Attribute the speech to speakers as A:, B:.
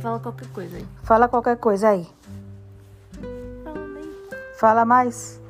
A: Fala qualquer coisa aí.
B: Fala qualquer coisa aí.
A: Fala bem.
B: Fala mais.